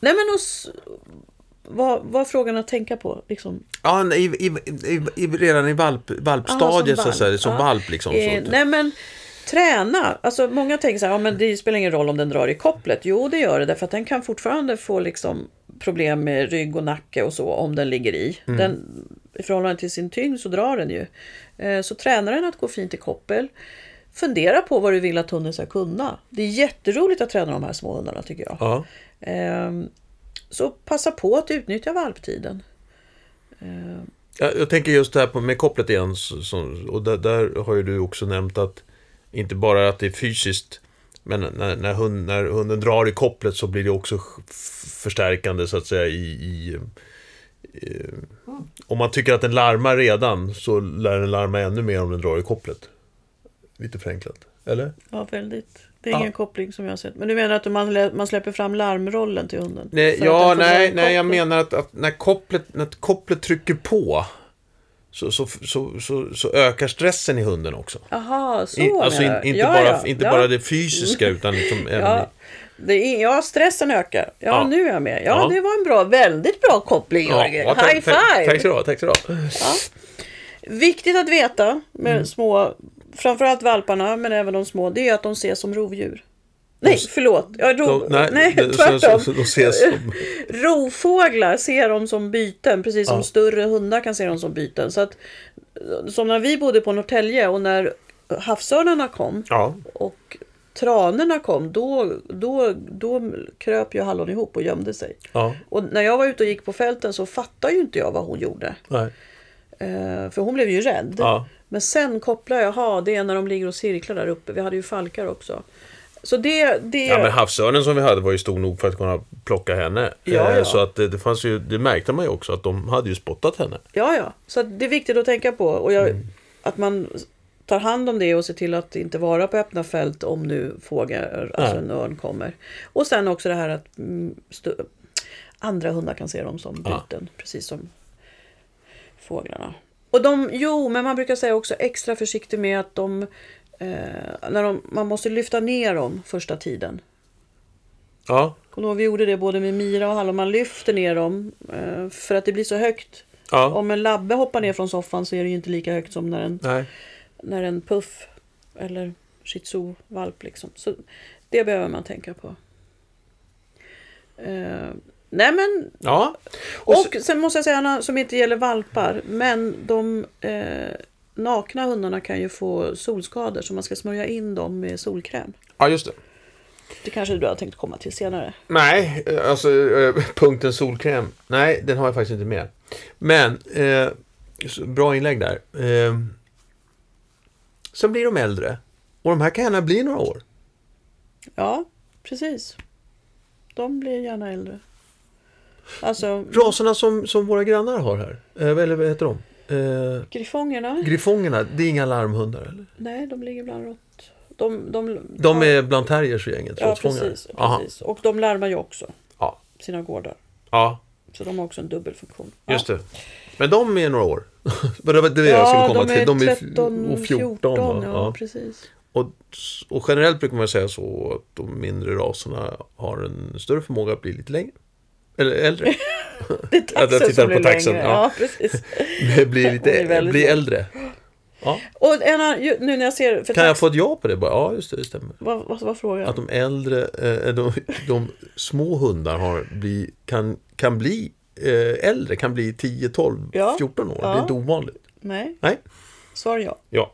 Speaker 2: nej men och s- vad, vad är frågan att tänka på? Liksom.
Speaker 1: Ja, i, i, i, i, redan i valp, valpstadiet så
Speaker 2: Ja, som
Speaker 1: att säga,
Speaker 2: valp.
Speaker 1: som
Speaker 2: Ja.
Speaker 1: valp liksom.
Speaker 2: Eh,
Speaker 1: så.
Speaker 2: nej men träna. Alltså, många tänker så här, ja, men det spelar ingen roll om den drar i kopplet. Jo det gör det därför att den kan fortfarande få liksom, problem med rygg och nacke och så om den ligger i.
Speaker 1: Mm.
Speaker 2: Den, I förhållande till sin tyngd så drar den ju. Eh, så träna den att gå fint i koppel. Fundera på vad du vill att hunden ska kunna. Det är jätteroligt att träna de här små hundarna tycker jag.
Speaker 1: Ja.
Speaker 2: Ehm, Så passa på att utnyttja valptiden. Ehm,
Speaker 1: Jag, jag tänker just det här på, med kopplet igen, så, så, och där, där har ju du också nämnt att inte bara att det är fysiskt, men när, när, hund, när hunden drar i kopplet så blir det också f- förstärkande så att säga i... i eh, om man tycker att den larmar redan så lär den larma ännu mer om den drar i kopplet. Lite förenklat, eller?
Speaker 2: Ja, väldigt. Det är
Speaker 1: Ja.
Speaker 2: ingen koppling som jag har sett. Men du menar att man, lä- man släpper fram larmrollen till hunden?
Speaker 1: Nej,
Speaker 2: För att
Speaker 1: ja,
Speaker 2: den får
Speaker 1: nej,
Speaker 2: dra i
Speaker 1: nej, jag
Speaker 2: koppel?
Speaker 1: menar att, att när, kopplet, när kopplet trycker på så, så, så, så, så ökar stressen i hunden också.
Speaker 2: Jaha, så
Speaker 1: I, alltså in,
Speaker 2: menar du.
Speaker 1: inte,
Speaker 2: ja,
Speaker 1: bara,
Speaker 2: ja,
Speaker 1: inte
Speaker 2: ja. Mm.
Speaker 1: bara det fysiska utan liksom även
Speaker 2: Ja. Det är, ja, stressen ökar. Ja,
Speaker 1: Ja.
Speaker 2: nu är jag med. Ja,
Speaker 1: Ja.
Speaker 2: det var en bra, väldigt bra koppling Jörgen.
Speaker 1: tack-
Speaker 2: High
Speaker 1: tack-
Speaker 2: five!
Speaker 1: Tack så du ha, tack så du ha.
Speaker 2: Viktigt att veta med
Speaker 1: Mm.
Speaker 2: små, framförallt valparna men även de små, det är att de ses som rovdjur. Nej, förlåt. Ja, rov,
Speaker 1: De-
Speaker 2: nej,
Speaker 1: de-
Speaker 2: tvärtom.
Speaker 1: så- så- De ses som...
Speaker 2: Rovfåglar ser dem som byten, precis som
Speaker 1: Ja.
Speaker 2: större hundar kan se dem som byten. Så att, som när vi bodde på Norrtälje och när havsörnarna kom
Speaker 1: Ja,
Speaker 2: och tranorna kom, då, då, då kröp ju hallon ihop och gömde sig.
Speaker 1: ja,
Speaker 2: Och när jag var ute och gick på fälten så fattade ju inte jag vad hon gjorde.
Speaker 1: nej,
Speaker 2: Eh, för hon blev ju rädd.
Speaker 1: ja.
Speaker 2: Men sen kopplade jag, jaha, det är när de ligger och cirklar där uppe. Vi hade ju falkar också. Så det... det
Speaker 1: Ja men havsörnen som vi hade var ju stor nog för att kunna plocka henne.
Speaker 2: Ja,
Speaker 1: Eh,
Speaker 2: ja.
Speaker 1: Så att det, det fanns ju, det märkte man ju också att de hade ju spottat henne.
Speaker 2: Ja, ja. Så att det är viktigt att tänka på. Och jag,
Speaker 1: Mm.
Speaker 2: Att man tar hand om det och ser till att inte vara på öppna fält om nu fåglar, alltså
Speaker 1: Nej.
Speaker 2: en örn kommer. Och sen också det här att mm, stö- andra hundar kan se dem som byten,
Speaker 1: Ja.
Speaker 2: precis som fåglarna. Och de, jo, men man brukar säga också extra försiktig med att de, eh, när de, man måste lyfta ner dem första tiden.
Speaker 1: Ja,
Speaker 2: Kommer du ihåg, vi gjorde det både med Mira och Hallon, man lyfter ner dem eh, för att det blir så högt.
Speaker 1: ja,
Speaker 2: Om en labbe hoppar ner från soffan så är det ju inte lika högt som när en,
Speaker 1: nej.
Speaker 2: när en puff eller shih tzu-valp. Liksom. Så det behöver man tänka på. Eh, nej men,
Speaker 1: Ja,
Speaker 2: och,
Speaker 1: Och
Speaker 2: sen måste jag säga en annan som inte gäller valpar, men de eh, nakna hundarna kan ju få solskador så man ska smörja in dem med solkräm.
Speaker 1: ja just det.
Speaker 2: Det kanske du har tänkt komma till senare.
Speaker 1: Nej, eh, alltså eh, punkten solkräm. Nej, den har jag faktiskt inte med. Men, eh, så bra inlägg där. Eh, Sen blir de äldre. Och de här kan gärna bli några år.
Speaker 2: Ja, precis. De blir gärna äldre. Alltså,
Speaker 1: Raserna som, som våra grannar har här, eh, eller vad heter de? Eh,
Speaker 2: griffongerna?
Speaker 1: griffongerna, det är inga larmhundar eller?
Speaker 2: Nej, de ligger bland rått. De, de,
Speaker 1: De är bland terriers och gänget,
Speaker 2: ja,
Speaker 1: råttfångare.
Speaker 2: precis,
Speaker 1: Aha.
Speaker 2: precis. Och de larmar ju också
Speaker 1: Ja.
Speaker 2: sina gårdar.
Speaker 1: ja,
Speaker 2: Så de har också en dubbel funktion.
Speaker 1: just det. Men de är några år. Men det var det
Speaker 2: Ja,
Speaker 1: jag skulle komma
Speaker 2: de är
Speaker 1: till. De är
Speaker 2: 13,
Speaker 1: och
Speaker 2: 14.
Speaker 1: 14 va?
Speaker 2: ja,
Speaker 1: ja.
Speaker 2: precis.
Speaker 1: Och, och generellt brukar man säga så att de mindre raserna har en större förmåga att bli lite längre. Eller äldre.
Speaker 2: Det är taxen
Speaker 1: tittar
Speaker 2: som
Speaker 1: på
Speaker 2: blir
Speaker 1: taxen,
Speaker 2: längre.
Speaker 1: ja.
Speaker 2: Ja, precis.
Speaker 1: bli
Speaker 2: Hon är
Speaker 1: lite
Speaker 2: väldigt
Speaker 1: bli
Speaker 2: läng-
Speaker 1: äldre. Ja.
Speaker 2: Och en, annan- ju- nu när jag ser... För
Speaker 1: Kan jag
Speaker 2: tax,
Speaker 1: få ett ja på det? Bara, ja, just det, det stämmer.
Speaker 2: vad, vad var frågan?
Speaker 1: Att de äldre, eh, de, de små hundar har bli, kan, kan bli eh, äldre, kan bli 10, 12,
Speaker 2: Ja.
Speaker 1: 14 år. Det är
Speaker 2: Ja.
Speaker 1: inte ovanligt.
Speaker 2: Nej,
Speaker 1: Nej.
Speaker 2: svar ja.
Speaker 1: Ja.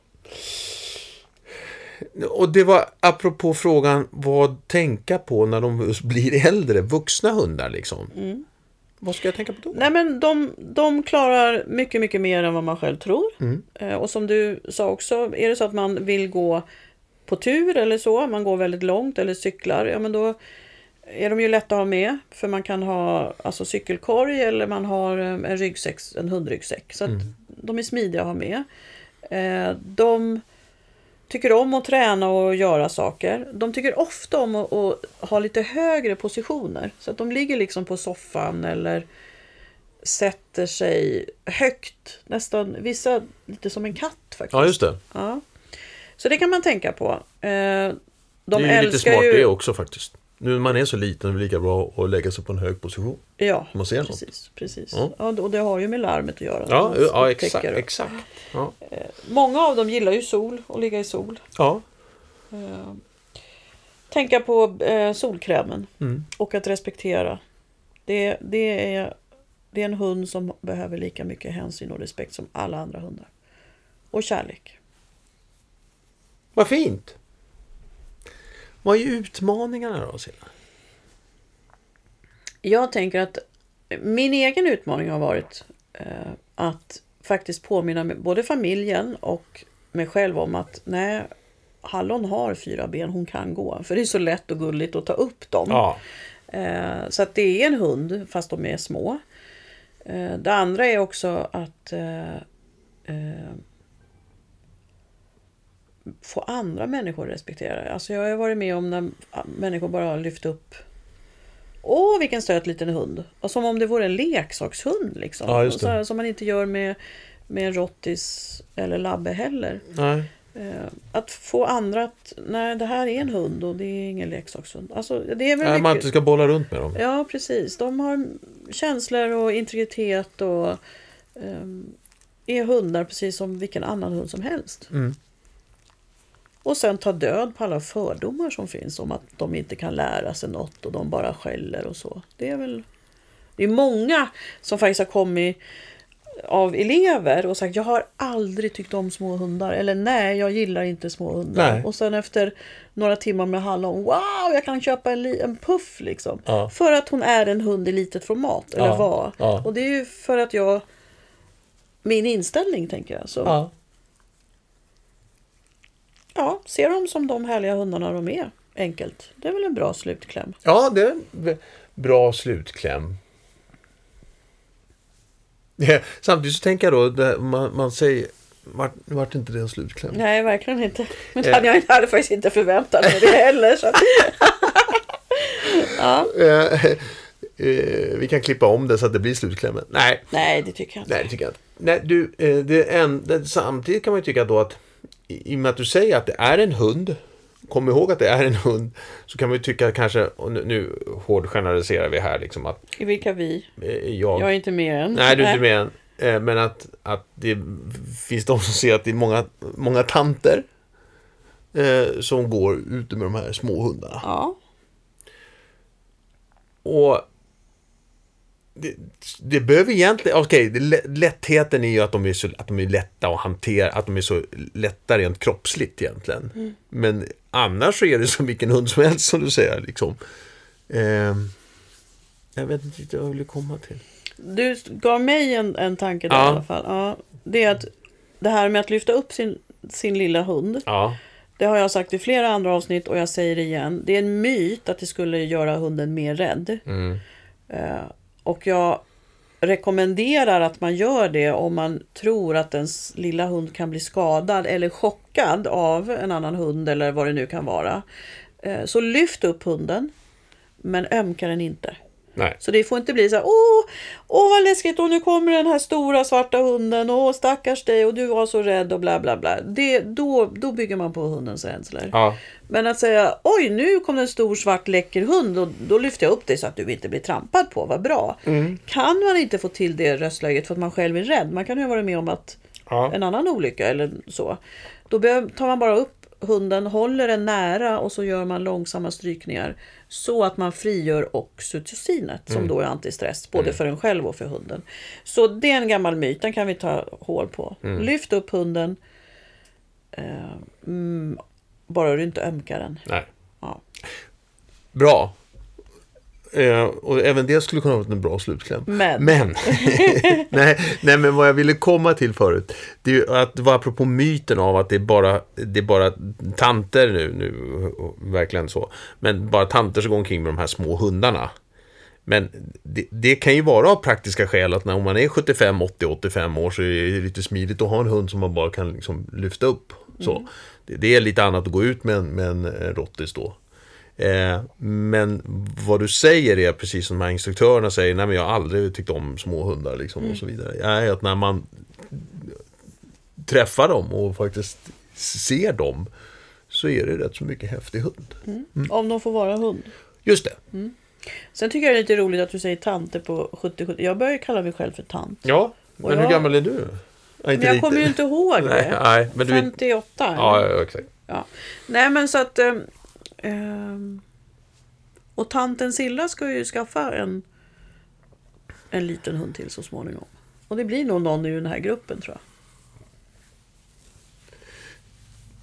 Speaker 1: Och det var apropå frågan vad tänka på när de just blir äldre, vuxna hundar liksom.
Speaker 2: Mm.
Speaker 1: Vad ska jag tänka på då?
Speaker 2: Nej men de, de klarar mycket, mycket mer än vad man själv tror. Eh, Och som du sa också, är det så att man vill gå på tur eller så, man går väldigt långt eller cyklar, ja men då är de ju lätta att ha med. För man kan ha alltså, cykelkorg eller man har eh, en, ryggsäck, en hundryggsäck. Så att de är smidiga att ha med. Eh, De tycker om att träna och göra saker. De tycker ofta om att, att ha lite högre positioner. Så att de ligger liksom på soffan eller sätter sig högt. Nästan vissa lite som en katt faktiskt.
Speaker 1: Ja, just det.
Speaker 2: Ja. Så det kan man tänka på. Eh, De
Speaker 1: De det är ju lite
Speaker 2: älskar
Speaker 1: smart
Speaker 2: ju...
Speaker 1: det också faktiskt. Nu när man är så liten är det lika bra att lägga sig på en hög position.
Speaker 2: Ja,
Speaker 1: Man ser något.
Speaker 2: precis. precis.
Speaker 1: Ja.
Speaker 2: Ja. och det har ju med larmet att göra.
Speaker 1: Ja,
Speaker 2: Man
Speaker 1: ja
Speaker 2: upptäcker
Speaker 1: exakt.
Speaker 2: det.
Speaker 1: exakt. Ja.
Speaker 2: Många av dem gillar ju sol och ligga i sol.
Speaker 1: Ja.
Speaker 2: Eh, Tänka på eh, solkrämen
Speaker 1: Mm.
Speaker 2: och att respektera. Det, det, är, det är en hund som behöver lika mycket hänsyn och respekt som alla andra hundar. Och kärlek.
Speaker 1: Vad fint! Vad är utmaningarna då, Silla?
Speaker 2: Jag tänker att min egen utmaning har varit eh, att faktiskt påminna med både familjen och mig själv om att nej, Hallon har fyra ben, hon kan gå. För det är så lätt och gulligt att ta upp dem.
Speaker 1: Ja.
Speaker 2: Eh, så att det är en hund fast de är små. Eh, det andra är också att eh, eh, få andra människor att respektera det. Alltså jag har ju varit med om när människor bara har lyft upp Åh vilken söt liten hund! Och som om det vore en leksakshund liksom.
Speaker 1: Ja, just det.
Speaker 2: Så här, som man inte gör med, med en rottis eller labbe heller.
Speaker 1: Mm. Nej.
Speaker 2: Eh, Att få andra att, nej det här är en hund och det är ingen leksakshund. Alltså, det
Speaker 1: Nej,
Speaker 2: är väl mycket...
Speaker 1: Äh, man inte ska bolla runt med dem.
Speaker 2: Ja, precis. De har känslor och integritet och ehm, är hundar precis som vilken annan hund som helst.
Speaker 1: Mm.
Speaker 2: Och sen ta död på alla fördomar som finns om att de inte kan lära sig något och de bara skäller och så. Det är väl... Det är många som faktiskt har kommit av elever och sagt jag har aldrig tyckt om små hundar eller nej jag gillar inte små hundar.
Speaker 1: Nej.
Speaker 2: Och sen efter några timmar med hallon, wow jag kan köpa en, li- en puff liksom.
Speaker 1: Ja.
Speaker 2: För att hon är en hund i litet format, eller
Speaker 1: Ja,
Speaker 2: var.
Speaker 1: ja.
Speaker 2: Och det är ju för att jag, min inställning tänker jag. Så, ja.
Speaker 1: Ja.
Speaker 2: se dem som de härliga hundarna de är, enkelt. Det är väl en bra slutkläm.
Speaker 1: Ja, det är en v- bra slutkläm. Ja, Samtidigt så tänker jag då, det- man, man säger, vart, vart inte det en slutkläm?
Speaker 2: Nej, verkligen inte. Men det
Speaker 1: Eh.
Speaker 2: hade jag inte- hade faktiskt inte förväntat mig det heller. Så. att- ja.
Speaker 1: Eh, eh, vi kan klippa om det så att det blir slutklämmen. Nej,
Speaker 2: Nej, det tycker jag inte.
Speaker 1: nej det tycker jag inte. Nej, du, eh, det är en, det, samtidigt kan man ju tycka då att i, i och med att du säger att det är en hund, kom ihåg att det är en hund, så kan man ju tycka kanske, och nu, nu hårdgeneraliserar vi här liksom att
Speaker 2: I vilka vi?
Speaker 1: eh,
Speaker 2: Jag är inte med än.
Speaker 1: Nej, du är inte med än. Eh, Men att, att det finns de som ser att det är många, många tanter eh, som går ute med de här små hundarna.
Speaker 2: Ja,
Speaker 1: Och det, det behöver egentligen, okej, det lä- lättheten är ju att de är, så, att de är lätta att hantera, att de är så lätta rent kroppsligt egentligen. Men annars så är det som vilken hund som helst som du säger liksom. Eh, jag vet inte riktigt vad jag ville komma till.
Speaker 2: du gav mig en, en tanke där
Speaker 1: Ja.
Speaker 2: i alla fall. Ja, det är att det här med att lyfta upp sin sin lilla hund.
Speaker 3: Ja.
Speaker 2: Det har jag sagt i flera andra avsnitt och jag säger det igen. Det är en myt att det skulle göra hunden mer rädd. Eh, och jag rekommenderar att man gör det om man tror att ens lilla hund kan bli skadad eller chockad av en annan hund eller vad det nu kan vara. Eh, så lyft upp hunden, men ömka den inte.
Speaker 3: Nej.
Speaker 2: Så det får inte bli så här, åh, åh vad läskigt, och nu kommer den här stora svarta hunden, åh stackars dig, och du var så rädd och bla bla bla. Det, då, då bygger man på hundens rädslor.
Speaker 3: Ja.
Speaker 2: Men att säga, oj nu kom det en stor svart läcker hund, och då lyfter jag upp dig så att du inte blir trampad på, vad bra. Kan man inte få till det röstläget för att man själv är rädd, man kan ju ha varit med om att
Speaker 3: Ja.
Speaker 2: en annan olycka eller så. Då behöv- tar man bara upp hunden, håller den nära och så gör man långsamma strykningar så att man frigör oxytocinet som då är antistress både för en själv och för hunden. Så det är en gammal myt, den kan vi ta hål på. Lyft upp hunden, eh, mm, bara du inte ömkar den.
Speaker 3: Nej.
Speaker 2: Ja.
Speaker 1: Bra. Eh, och även det skulle kunna vara en bra slutkläm.
Speaker 2: Men.
Speaker 1: nej, nej, men vad jag ville komma till förut. Det är ju att det var apropå myten av att det är bara, det är bara tanter nu, nu, och verkligen så. Men bara tanter som går omkring med de här små hundarna. Men det, det kan ju vara av praktiska skäl att när om man är 75, 80, 85 år så är det lite smidigt att ha en hund som man bara kan liksom lyfta upp. Så.
Speaker 2: Mm.
Speaker 1: Det, det är lite annat att gå ut med en, med en eh, rottis då. Eh, men vad du säger är precis som de här instruktörerna säger, nej men jag har aldrig tyckt om små hundar liksom
Speaker 2: Mm.
Speaker 1: och så vidare. Nej, att när man träffar dem och faktiskt ser dem så är det rätt så mycket häftig hund.
Speaker 2: Mm. Om de får vara hund.
Speaker 1: Just det.
Speaker 2: Sen tycker jag det är lite roligt att du säger tante på 70 70 Jag börjar ju kalla mig själv för tant.
Speaker 3: Ja.
Speaker 2: Och
Speaker 1: Men hur
Speaker 2: jag-
Speaker 1: gammal är du? Ja, inte
Speaker 2: Men jag kommer ju
Speaker 1: lite.
Speaker 2: inte ihåg
Speaker 3: Nej,
Speaker 2: det.
Speaker 3: nej, men du...
Speaker 2: 58? eller?
Speaker 3: Ja, ja, ja, exakt.
Speaker 2: Ja. Nej men så att... ehm, ehm, och tanten Silla ska ju skaffa en, en liten hund till så småningom. Och det blir nog någon i den här gruppen tror jag.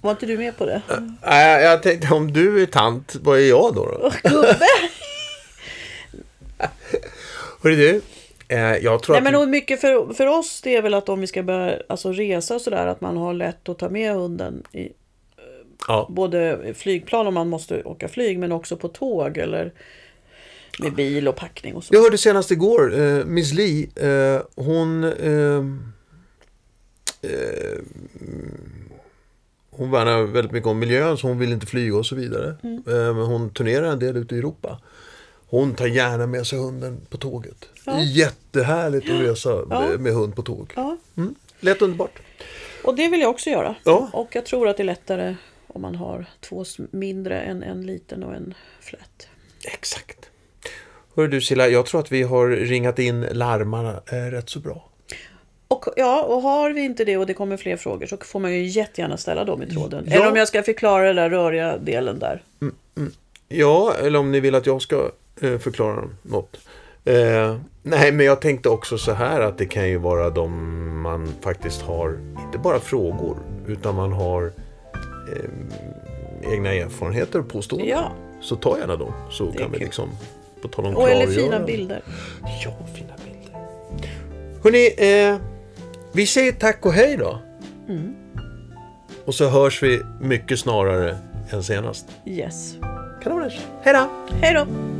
Speaker 2: Var inte du med på det?
Speaker 1: Nej, jag tänkte om du är tant, vad är jag då? då?
Speaker 2: Gubbe!
Speaker 1: Hörru du, eh, jag tror
Speaker 2: Nej
Speaker 1: att...
Speaker 2: men och mycket för, för oss det är väl att om vi ska börja alltså, resa och sådär att man har lätt att ta med hunden i,
Speaker 1: ja.
Speaker 2: både flygplan om man måste åka flyg men också på tåg eller med bil och packning och så.
Speaker 1: Jag hörde senast igår, eh, Miss Li, eh, hon... ehm, eh, hon värnar väldigt mycket om miljön så hon vill inte flyga och så vidare.
Speaker 2: Mm.
Speaker 1: Eh, men hon turnerar en del ute i Europa. Hon tar gärna med sig hunden på tåget.
Speaker 2: Ja.
Speaker 1: Jättehärligt att resa
Speaker 2: Ja.
Speaker 1: med, med hund på tåg.
Speaker 2: Ja.
Speaker 1: Mm. Lätt underbart.
Speaker 2: Och det vill jag också göra.
Speaker 1: Ja.
Speaker 2: Och jag tror att det är lättare om man har två sm- mindre än en liten och en flat.
Speaker 1: Exakt. Hör du Silla, jag tror att vi har ringat in larmarna eh, rätt så bra.
Speaker 2: Och, ja, och har vi inte det och det kommer fler frågor så får man ju jättegärna ställa dem i tråden.
Speaker 1: Ja.
Speaker 2: Eller om jag ska förklara den där röriga delen där.
Speaker 1: Ja, eller om ni vill att jag ska eh, förklara något. Eh, nej, men jag tänkte också så här att det kan ju vara de man faktiskt har, inte bara frågor, utan man har eh, egna erfarenheter och påståenden.
Speaker 2: Ja.
Speaker 1: Så ta gärna dem, så
Speaker 2: är
Speaker 1: kan vi
Speaker 2: kul.
Speaker 1: liksom, på tal om
Speaker 2: Och eller
Speaker 1: klargörande.
Speaker 2: fina bilder.
Speaker 1: Ja, fina bilder. Hörrni, eh, vi säger tack och hej då.
Speaker 2: Mm.
Speaker 1: Och så hörs vi mycket snarare än senast.
Speaker 2: Yes.
Speaker 1: Kanoners, hej då!
Speaker 2: Hej då!